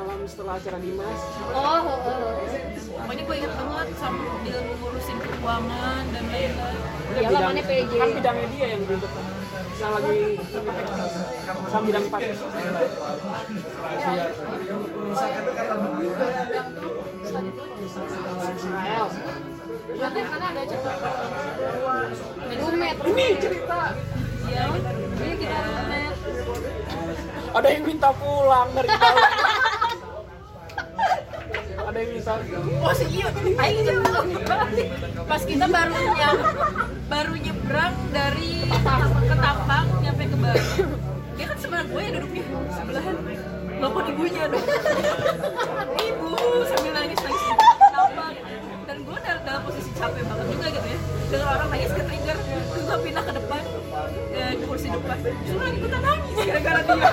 acara Dimas oh, oh, oh. pokoknya gue inget banget sambil ngurusin keuangan dan lain-lain Iya, Iyalah, mana PJ. Kan bidangnya dia yang dulu yang lagi sama bidang empat. Israel. karena karena ada acara Rumet. Ini cerita. ya jadi kita net Ada yang minta pulang dari Bali. Ada yang minta. oh serius aing inget banget pas kita baru nyam baru nyebrang dari ke Tapang nyampe ke Bali dia kan sebelah gue yang duduknya sebelahan nelfon ibunya dong ibu sambil nangis nangis di Tapang dan gue dalam, dalam posisi capek banget juga gitu ya dengan orang nangis ke trigger terus gue pindah ke depan ke kursi depan terus lagi ikutan nangis gara-gara dia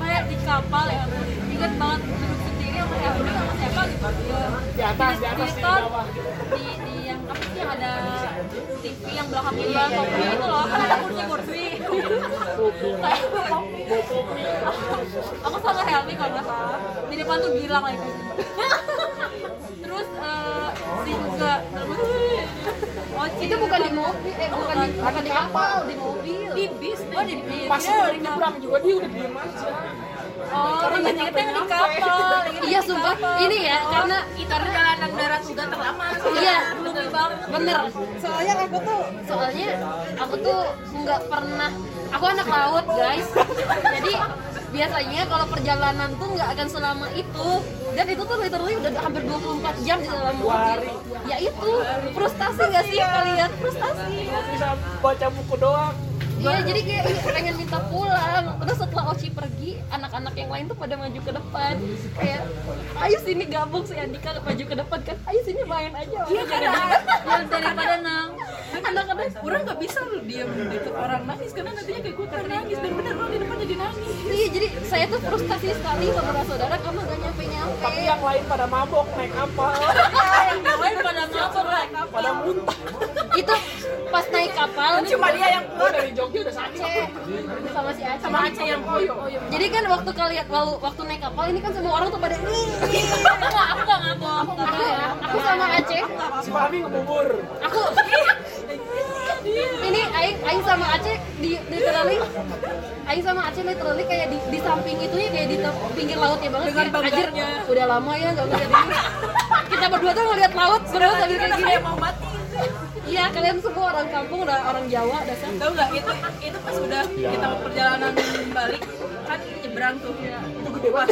kayak di kapal ya inget banget duduk sendiri sama Elda sama siapa gitu Di atas, di atas, ya. di Nonton bawah. di, di yang apa sih yang ada TV yang belakangnya jual kopi itu loh kan ada kursi-kursi Kayak kopi. aku sama Helmi kalau nggak salah di depan tuh Gilang lagi terus eh, si juga oh Itu bukan di mobil, eh bukan di, bukan di kapal, di mobil. di bis oh di bis Pas Iya, dari nyebrang juga dia udah diem aja. oh Karena ingat ingat yang di nyampe-nyampe. kapal Oh. Iya sumpah, ini ya karena itu perjalanan darat juga terlama Iya. belum banget bener. soalnya aku tuh Soalnya aku tuh nggak pernah, aku anak laut guys. Jadi biasanya kalau perjalanan tuh nggak akan selama itu dan itu tuh literally udah hampir 24 jam di dalam mobil Wari. ya itu frustasi gak sih kalian frustasi Bisa baca buku doang. iya jadi kayak ih, pengen minta pulang terus setelah Oci pergi anak-anak yang lain tuh pada maju ke depan kayak ayo sini gabung si Andika maju ke depan kan ayo sini main aja iya kan yang daripada nang anak-anak orang nggak bisa lu diam di depan orang nangis karena nantinya kayak gue kan nangis dan bener orang di depan jadi nangis iya jadi saya tuh frustasi sekali sama saudara karena gak nyampe nyampe Tapi yang lain pada mabok naik kapal, Iya, yang lain pada mabok naik kapal pada muntah. itu pas naik kapal cuma dia yang Gue dari Jogja udah sakit. sama si Aceh sama Aceh yang koyo jadi kan waktu kalian lalu waktu naik kapal ini kan semua orang tuh pada nih aku nggak aku nggak mabok aku, aku sama Aceh Si Fahmi ngebubur. aku ini Aing Aing sama Aceh di literally Aing sama Aceh literally kayak di, di samping itu ya kayak di tem- pinggir lautnya banget Dengan kayak, "Anjir, bangganya." udah lama ya nggak ngeliat ini kita berdua tuh ngeliat laut berdua sambil kayak udah gini kayak mau mati iya kalian semua orang kampung udah orang Jawa dasar tau nggak itu itu pas udah kita perjalanan balik kan nyebrang tuh pas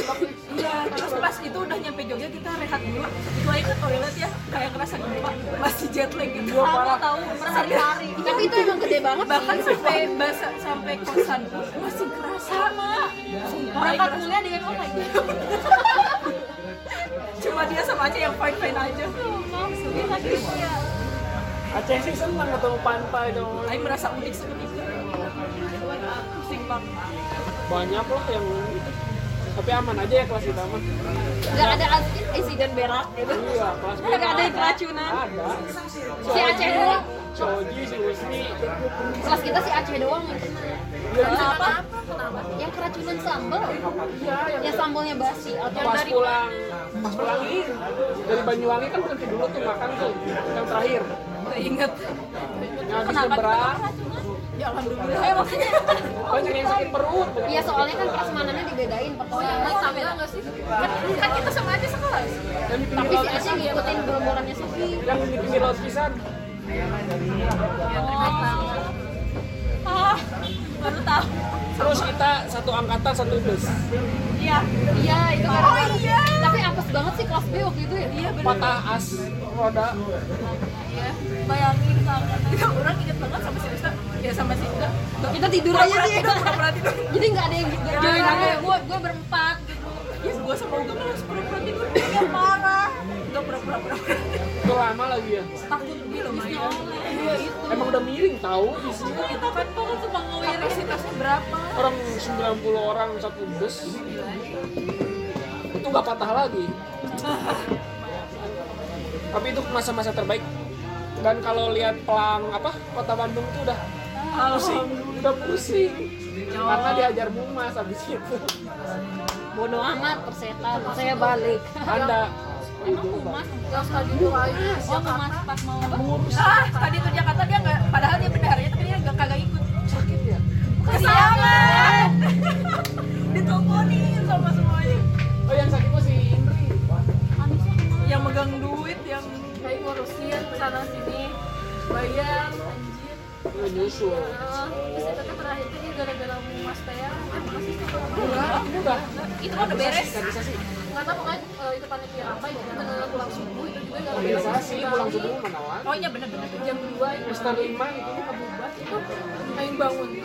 iya terus pas itu udah nyampe Jogja kita rehat dulu gue ke toilet ya kayak kerasa gempa masih jet lag gitu aku tahu berhari-hari tapi itu emang gede banget bahkan sampai basa, sampai kosan pun masih kerasa mak kan Sumpah, berangkat kerasa. kuliah dengan orang gitu cuma dia sama aja yang fine fine aja Sedih lagi ya Aceh sih seneng ketemu pantai dong. Aing merasa unik seperti itu pusing banget Banyak loh yang gitu. Tapi aman aja ya kelas kita aman. nggak ada as- insiden berak gitu Iya, kelas kita nggak ada yang keracunan ada. si Aceh doang Coji, si Wisni, kelas kita si Aceh doang yang kena kenapa yang keracunan sambal iya yang yang sambalnya basi atau pas pulang pas pulang ini dari Banyuwangi kan berhenti dulu tuh makan tuh yang terakhir Nah, Gak inget yang habis nyebrang ya alhamdulillah eh maksudnya banyak yang sakit perut Iya soalnya kan prasmanannya dibedain Ini Oh, iya, pertolongan sampai nggak sih kan kan kita sama aja sekolah yang di pinggir Tapi si laut Aceh ngikutin gerombolannya Sufi yang di pinggir laut pisan ah baru tahu terus kita satu angkatan satu bus iya Iya itu karena Tapi apes banget sih kelas B waktu itu ya Iya patah as roda iya bayangin sama itu orang inget banget sama si Rista ya sama si Rista Kita tidur aja sih pura-pura tidur iya. Jadi nggak ada yang gitu. join join aku aku gue gue berempat gitu Iya, ya gue sama Uga malah pura-pura tidur Dia marah gak pura-pura pura-pura itu lama lagi ya takut dia lumayan iya itu emang udah miring tahu di sini kita kan banget cuma ngawirin kapasitasnya berapa orang 90 orang satu bus itu nggak patah lagi tapi itu masa-masa terbaik dan kalau lihat pelang apa kota Bandung tuh udah Oh. pusing udah pusing karena diajar mumas habis itu bodo amat persetan saya balik Anda Emang humas? yang stadion itu Oh, humas pas mau mengurus ah tadi tuh Jakarta dia nggak padahal dia bendaharanya tapi dia nggak kagak ikut sakit ya. kesiangan diteleponin sama semuanya Oh yang sakit mah si Indri. Anisnya kemana? yang megang duit yang Kayak ngurusin sana sini bayar anjir Lu nyusul. Nah, terus itu tuh terakhir itu dia gara-gara mas kayak eh makasih sih Enggak, enggak. itu kan udah beres Gak bisa sih. nggak tahu pokoknya eh, itu panitia apa itu benar pulang subuh itu juga gara-gara Organisasi Oh, iya, pulang subuh menawan. oh iya bener-bener jam 2 itu Mister Lima itu mah buat itu kayak bangun tuh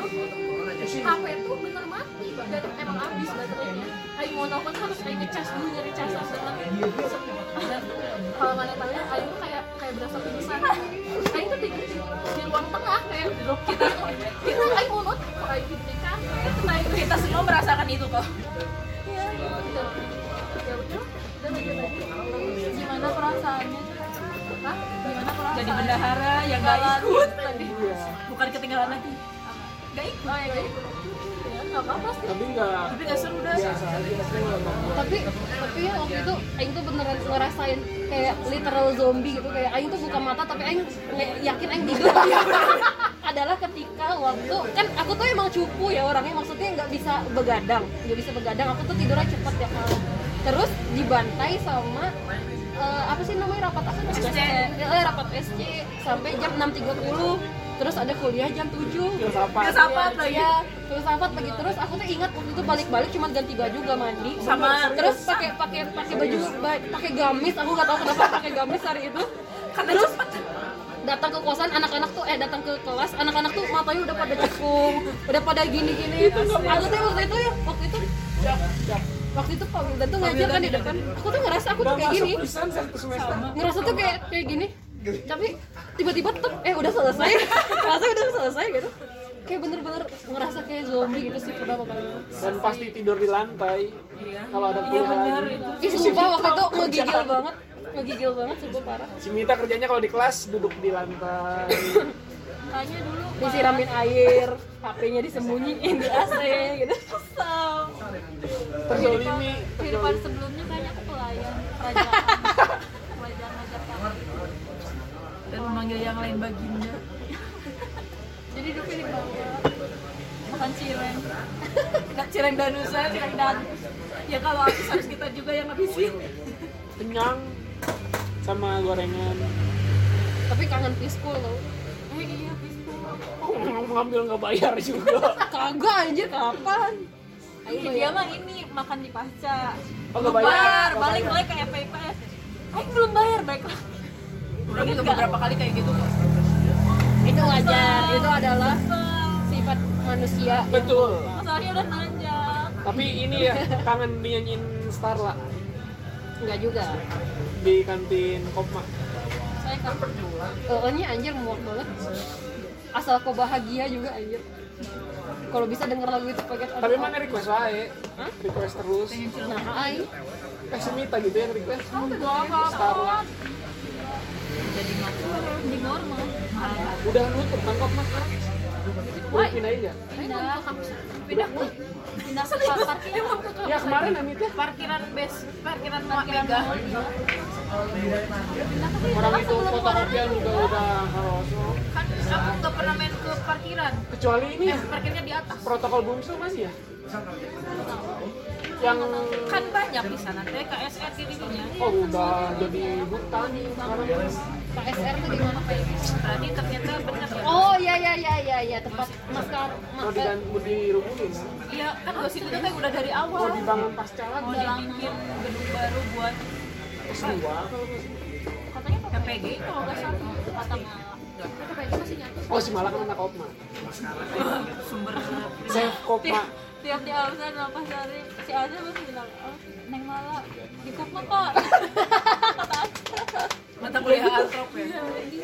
HP tuh bener mati bahkan emang habis baterainya kayak mau telepon harus kayak ngecas dulu nyari casan dengan dan kalau mana tahu kayak tuh kayak kayak berasa pingsan kayak tuh di, di ruang tengah kayak drop kita kita kayak mau nonton kayak gitu di kafe kayak gitu kita semua merasakan itu kok ya gitu ya udah udah lagi lagi Gimana perasaannya? Hah? Gimana perasaannya? jadi bendahara yang nggak ikut tadi ya, bukan ketinggalan lagi nggak ikut oh ya kayak gitu ya nggak apa-apa sih tapi enggak tapi nggak seru dah biasa aja sih enggak tapi tapi ya waktu itu Aing tuh beneran ngerasain kayak literal zombie gitu kayak Aing tuh buka mata tapi Aing nge- yakin Aing tidur adalah ketika waktu kan aku tuh emang cupu ya orangnya maksudnya nggak bisa begadang nggak bisa begadang aku tuh tidurnya cepet ya kalau terus dibantai sama eh, apa sih namanya rapat apa SC. Ya, eh, rapat SC sampai jam 6.30 terus ada kuliah jam 7 apa. nggak sapat lagi Iya, filsafat lagi terus aku tuh ingat waktu itu balik-balik cuma ganti baju gak mandi Sama. terus pakai pakai pakai baju ba- pakai gamis aku nggak tahu kenapa pakai gamis hari itu karena cepet datang ke kosan anak-anak tuh eh datang ke kelas anak-anak tuh matanya udah pada cekung udah pada gini-gini aku tuh waktu itu ya waktu itu waktu itu Pak Wildan tuh ngajar kan di depan aku tuh ngerasa aku tuh Udah kayak masuk gini pisan satu semester. ngerasa tuh kayak kayak gini tapi tiba-tiba tetep eh udah selesai rasanya udah selesai gitu kayak bener-bener ngerasa kayak zombie gitu sih pernah apa Dan pasti tidur di lantai. Iya. Kalau ada kuliah lagi. Ih sumpah waktu itu ngegigil banget ngegigil banget sumpah parah Si Mita kerjanya kalau di kelas duduk di lantai. tanya dulu disiramin air HP-nya disembunyiin di AC gitu Terzolimi. kehidupan sebelumnya kayaknya aku pelayan kerajaan kerajaan Jakarta dan memanggil yang lain baginda jadi dulu pilih bangga Bukan cireng. nggak cireng danusa cireng dan ya kalau habis harus kita juga yang habisin Kenyang sama gorengan. tapi kangen piskul loh eh iya biskut Oh, ngambil nggak bayar juga. kagak anjir kapan Ih, dia mah ini makan di pasca. Oh, nggak bayar. Bayar, balik lagi ke FPS. Aku belum bayar, baik lah. udah juga beberapa kali kayak gitu kok itu wajar itu adalah sifat manusia Betul. Masalahnya udah nanjak. Tapi ini ya kangen dinyanyiin Starla enggak juga di kantin Kopma. Saya kan Eonya anjir muak banget asal kau bahagia juga anjir kalau bisa denger lagu itu pakai Tapi mana request wae? Request terus. nah ai Eh, si Mita gitu yang request. Starla. apa di normal. Udah nutup kan Kopma sekarang? Udah pindahin ya? Pindah, Pindah. Udah. pindah ke parkiran. Ya kemarin Amitnya parkiran base parkiran Mak Mega orang itu kota kopian juga udah karoso. kan aku nggak pernah main ke parkiran Eh, Kecuali ini Eh. ya, parkirnya di atas protokol bungsu masih ya? Yang kan banyak di sana TKSR dirinya oh udah jadi hutan sekarang ya? KSR tuh di mana Pak? tadi ternyata benar ya Oh ya ya ya ya ya tempat maskar mau maskar digan- mau dirubuhin. iya kan gosip itu kayak udah dari Mau awal dibangun pasca mau lagi. dibikin gedung baru buat Seru banget. Katanya pakai PG kalau nggak salah kata malah. Oh si Malak anak Kopma. sumber Saya Kopma. Tiap di Alsan apa sehari, si Alsan masih bilang, oh, Neng Mala, di Kopma kok. mata kuliah antrop ya Iya,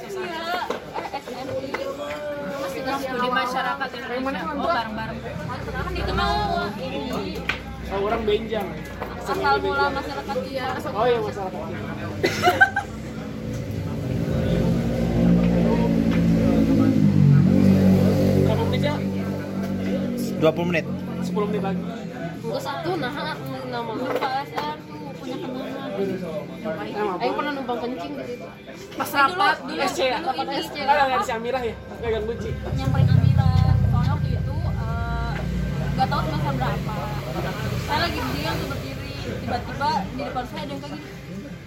eh, SNI. masih Yang kasih studi masyarakat Indonesia oh bareng-bareng Kan itu mah ini Kalau orang Benjang. asal mula masyarakat dia. Oh iya masalah kopi. Berapa menit ya? 20 menit. 10 menit lagi. Untuk satu nah nama lupa SR tuh punya kenangan Ayo pernah numpang kencing di situ Pas rapat dulu SC ya? tempat SC Kan ada si Amirah ya? Pegang kunci. nyamperin Amira soalnya waktu itu eh, nggak tahu semester berapa saya lagi berdiri tuh berdiri tiba-tiba di depan saya ada yang kayak gini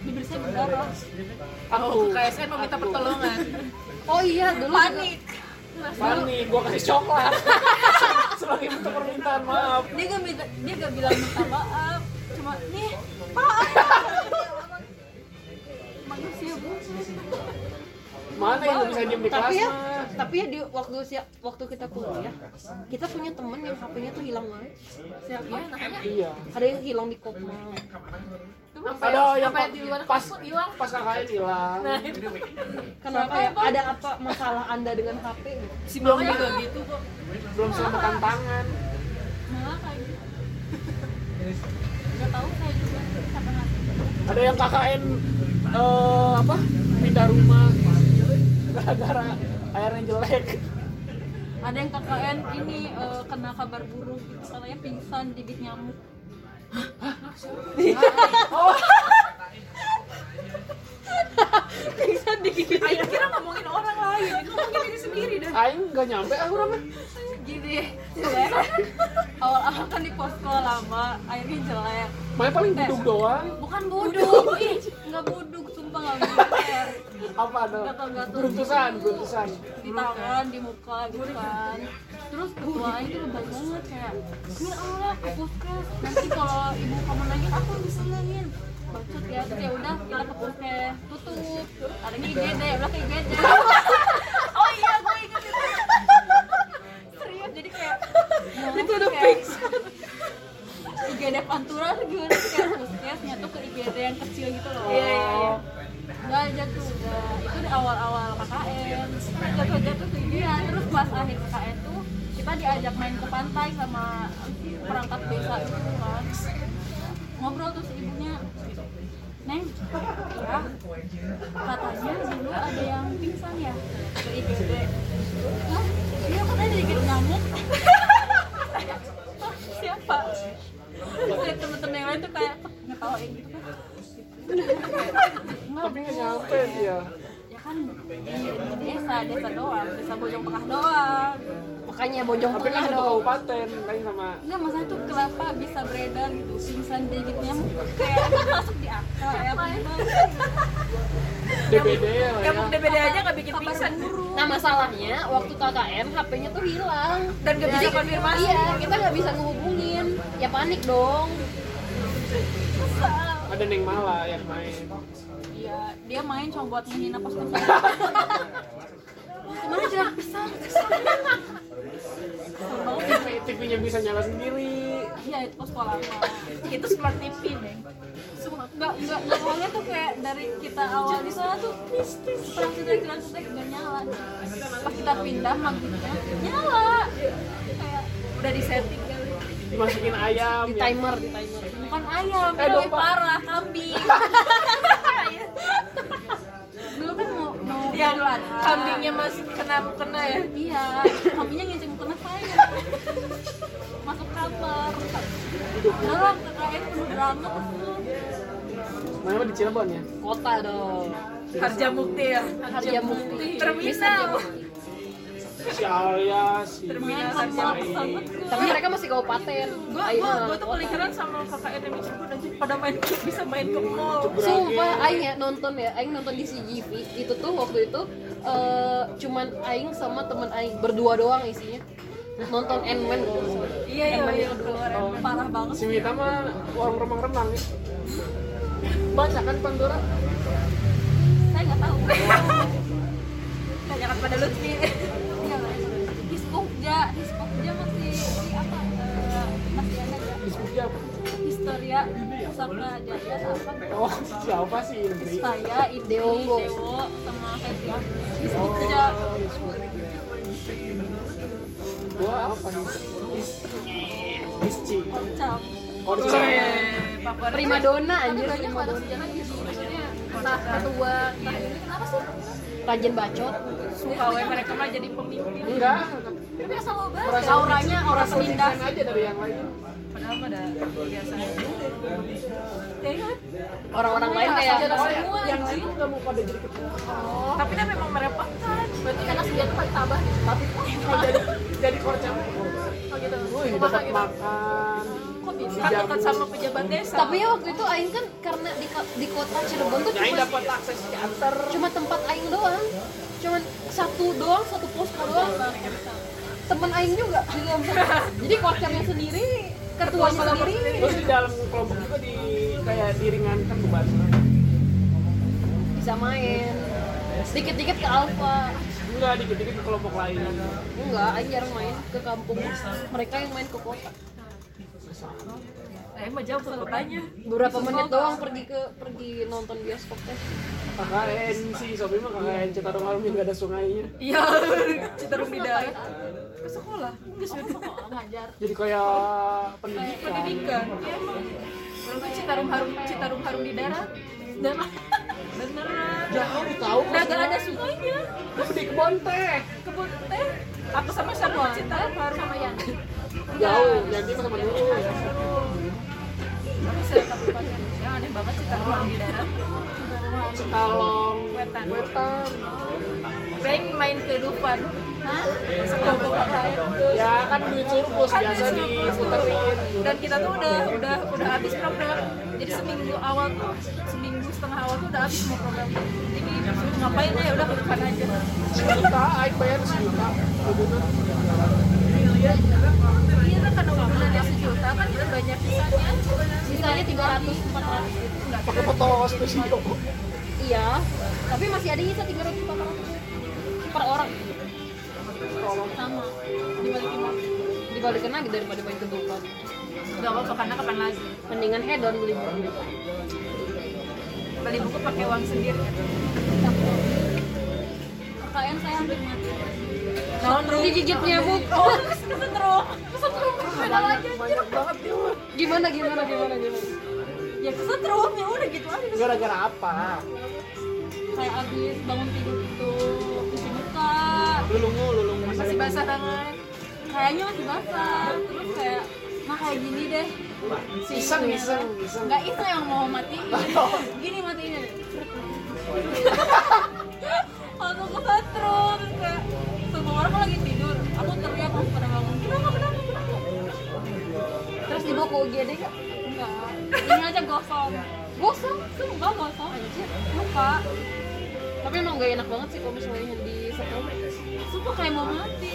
bibir saya berdarah Oh, Aku ke KSN mau minta pertolongan oh iya dulu panik Parni, gua kasih coklat. Sebagai bentuk permintaan maaf. dia gak minta dia gak bilang minta maaf cuma nih maaf manusia bu Mana yang gak bisa diem di kelas tapi ya mah? tapi ya di waktu si- waktu kita kuliah kita punya temen yang HP-nya tuh hilang banget ya, siapa namanya Iya. ada yang hilang di koma Ada yang apa yang di luar pas kampus hilang pas kakaknya hilang. kenapa ya ada apa masalah anda dengan HP gitu? Si Mama juga gitu kok Belum selamatan tangan. malah kayak gitu nggak tahu saya juga sampai nanti Ada yang KKN eh, apa? Pindah rumah gara-gara airnya jelek. ada yang KKN ini eh, kena kabar buruk gitu katanya pingsan digigit nyamuk pingsan digigit Ayo kira ngomongin orang lain, ngomongin diri sendiri dah Aing nggak nyampe ah urang mah. gini jelek awal-awal kan di posko lama akhirnya jelek Main paling duduk doang. bukan buduk ih nggak buduk sumpah nggak buduk Apa ada? Gatal-gatal. Beruntusan, beruntusan. di tangan di muka gitu kan terus ketua itu lebay banget kayak ini Allah ke puskes nanti kalau ibu kamu nangis aku bisa nangis bacot ya terus ya udah kita ke puskes tutup ada ini IGD ya udah ke IGD oh iya gue inget itu serius jadi kayak itu udah fix IGD Pantura tuh gimana sih kayak puskesnya tuh ke IGD yang kecil gitu loh Iya, iya, iya. Gak aja tuh, gak. Itu di awal-awal KKN Jatuh-jatuh ke dia, terus pas akhir KKN tuh Kita diajak main ke pantai sama perangkat desa itu kan Ngobrol terus ibunya Neng, ya katanya dulu ada yang pingsan ya ke IGD Hah? Iya katanya digigit nyamuk Hah, Siapa? Terus liat temen-temen yang lain tuh kayak ngetawain gitu kan Enggak, Tapi nggak nyampe dia. ya kan di di desa desa doang desa bojong tengah doang makanya bojong Tapi kan tengah satu dong kabupaten, lain sama nggak masalah tuh kenapa bisa beredar gitu pingsan digigit nyamuk kayak itu masuk di akal ya DBD lah ya. Nyamuk DBD aja gak bikin Kabar pingsan buruk nah masalahnya waktu KKN HP-nya tuh hilang Dan gak bisa konfirmasi iya kita nggak bisa ngehubungin ya panik dong Ada Neng Mala yang main. iya dia main cuma buat menghina pas kesini kemana jalan pisang TV TV-nya bisa nyala sendiri. iya itu pas sekolah Itu smart TV nih Sumpah, nggak nggak awalnya tuh kayak dari kita awal di sana tuh mistis pas kita jalan tuh nggak nyala pas kita pindah magnetnya nyala kayak Udah di setting kali Dimasukin ayam. di ya. timer di timer bukan ayam, Eh, lebih domba. parah kambing. Dulu kan mau mau Yang Idul Adha. kambingnya masih kena kena ya Iya, kambingnya ngincim kena saya. Masuk kamar. Udah lah, KKN penuh drama tuh. Mana mah di Cirebon ya? kota dong Harja Mukti ya harga mukti Iya, Terminal Si Arya, si Terminal Main Harja kamar Mai. banget gue. tapi mereka masih kabupaten Gue Ayo, gua, gua tuh kota. paling heran sama kakak Edemi Cirebon aja pada main bisa main ke mall Sumpah, Aing ya nonton ya, Aing nonton di CGV Itu tuh waktu itu eh, cuman Aing sama temen Aing, berdua doang isinya Nonton Ant-Man kalau nggak salah. Iya iya iya keluar ya. Parah banget. Si Mita mah orang remang-remang ya. Banyak kan Pandora? Saya nggak tahu. Tanyakan pada Lutfi Iya lah. Hispokja, Hispokja masih si apa? eh, masih ada ya. Di Suki apa? Historia Pusaka Jaya apa? Oh, siapa sih Indri? saya Ide Dewo. Dewo sama Febri Iya, di Jogja Gua apa nih? Misci. Kocam Orca. Primadonna anjir, banyak primadonna. ada sejarah di sini maksudnya entah ketua entah ini kenapa sih rajin bacot Suka we mereka mah jadi pemimpin Enggak. tapi asal lo bahas Merasa Auranya aura merasa penindas lebih keren aja dari yang lain. padahal pada biasa aja ya kan orang-orang lain Iya, kayak saudara semua yang anjing. lain nggak mau pada jadi ketua tapi kan memang merepotkan kan berarti anak sendiri tuh paling tabah gitu tapi Mau jadi jadi korcam oh gitu wih Rumah dapat gitu makan kok bisa kan dekat sama pejabat desa tapi ya waktu itu Aing kan karena di, ko- di kota Cirebon tuh Nyai cuma, dapat akses teater cuma tempat Aing doang cuman satu doang satu posko doang temen Aing juga jadi korcamnya sendiri ketuanya sendiri terus di dalam kelompok juga di kayak diringankan beban bisa main sedikit-dikit ke Alfa enggak dikit-dikit ke kelompok lain enggak Aing jarang main ke kampung mereka yang main ke kota eh mah jauh ke kotanya beberapa menit doang pergi ke pergi nonton bioskop teh KKN sih Sobri mah KKN Cetarung Harum yang gak ada sungainya iya citerung bidai ke sekolah enggak sudah ngajar jadi kayak kan. pendidikan pendidikan ya emang Menurutku Citarum harum Citarum harum di darat dan beneran jauh tahu udah gak ada sungainya tapi di kebon teh kebun teh aku sama Sarwa Citarum harum sama yang jauh jadi mah sama dulu tapi saya tak lupa yang Ya, aneh banget Citarum harum di darat sekalong Wetan. wetan Peng main kehidupan Hah? Sekelompok lain ya kan duit surplus Kan biasa duit surplus. diputerin dan kita tuh udah udah udah habis program jadi seminggu awal tuh seminggu setengah awal tuh udah habis mau program jadi ngapain ya udah kehidupan aja sejuta aing bayar sejuta kebutuhan iya kan karena udah ada sejuta kan udah banyak sisanya sisanya 300 400 gitu pakai foto studio iya tapi masih ada sisa 300 400 per orang sama dibalikin lagi dibalikin lagi daripada main ke Dupan nggak apa-apa karena kapan lagi mendingan hedon beli buku beli buku pakai uang sendiri KKN saya hampir mati non ru digigit nyamuk oh kesetrum kesetrum beda lagi anjir. banget ya Wan. gimana gimana gimana gimana ya kesetrum ya udah gitu aja gara-gara apa kayak abis bangun tidur itu cuci muka lulungu lulungu masih basah tangan kayaknya masih basah terus kayak nah kayak gini deh iseng iseng iseng nggak itu yang mau mati gini matinya aku kesetrum terus kayak semua orang lagi tidur aku teriak aku pada bangun kenapa kenapa kenapa terus dibawa ke UGD gak? enggak ini aja gosong gosong enggak gosong anjir lupa tapi emang gak enak banget sih kalau misalnya di sekolah sumpah kayak mau mati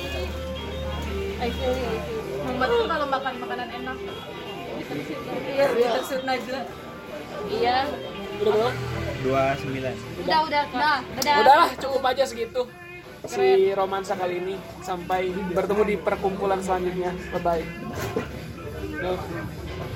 I feel you, I feel you. Membuat tuh kalau makan makanan enak Iya, tersuit Najla iya udah belum? 29 udah udah Nah, udah udah Udahlah, cukup aja segitu Ya. si romansa kali ini sampai bertemu di perkumpulan selanjutnya. Bye bye.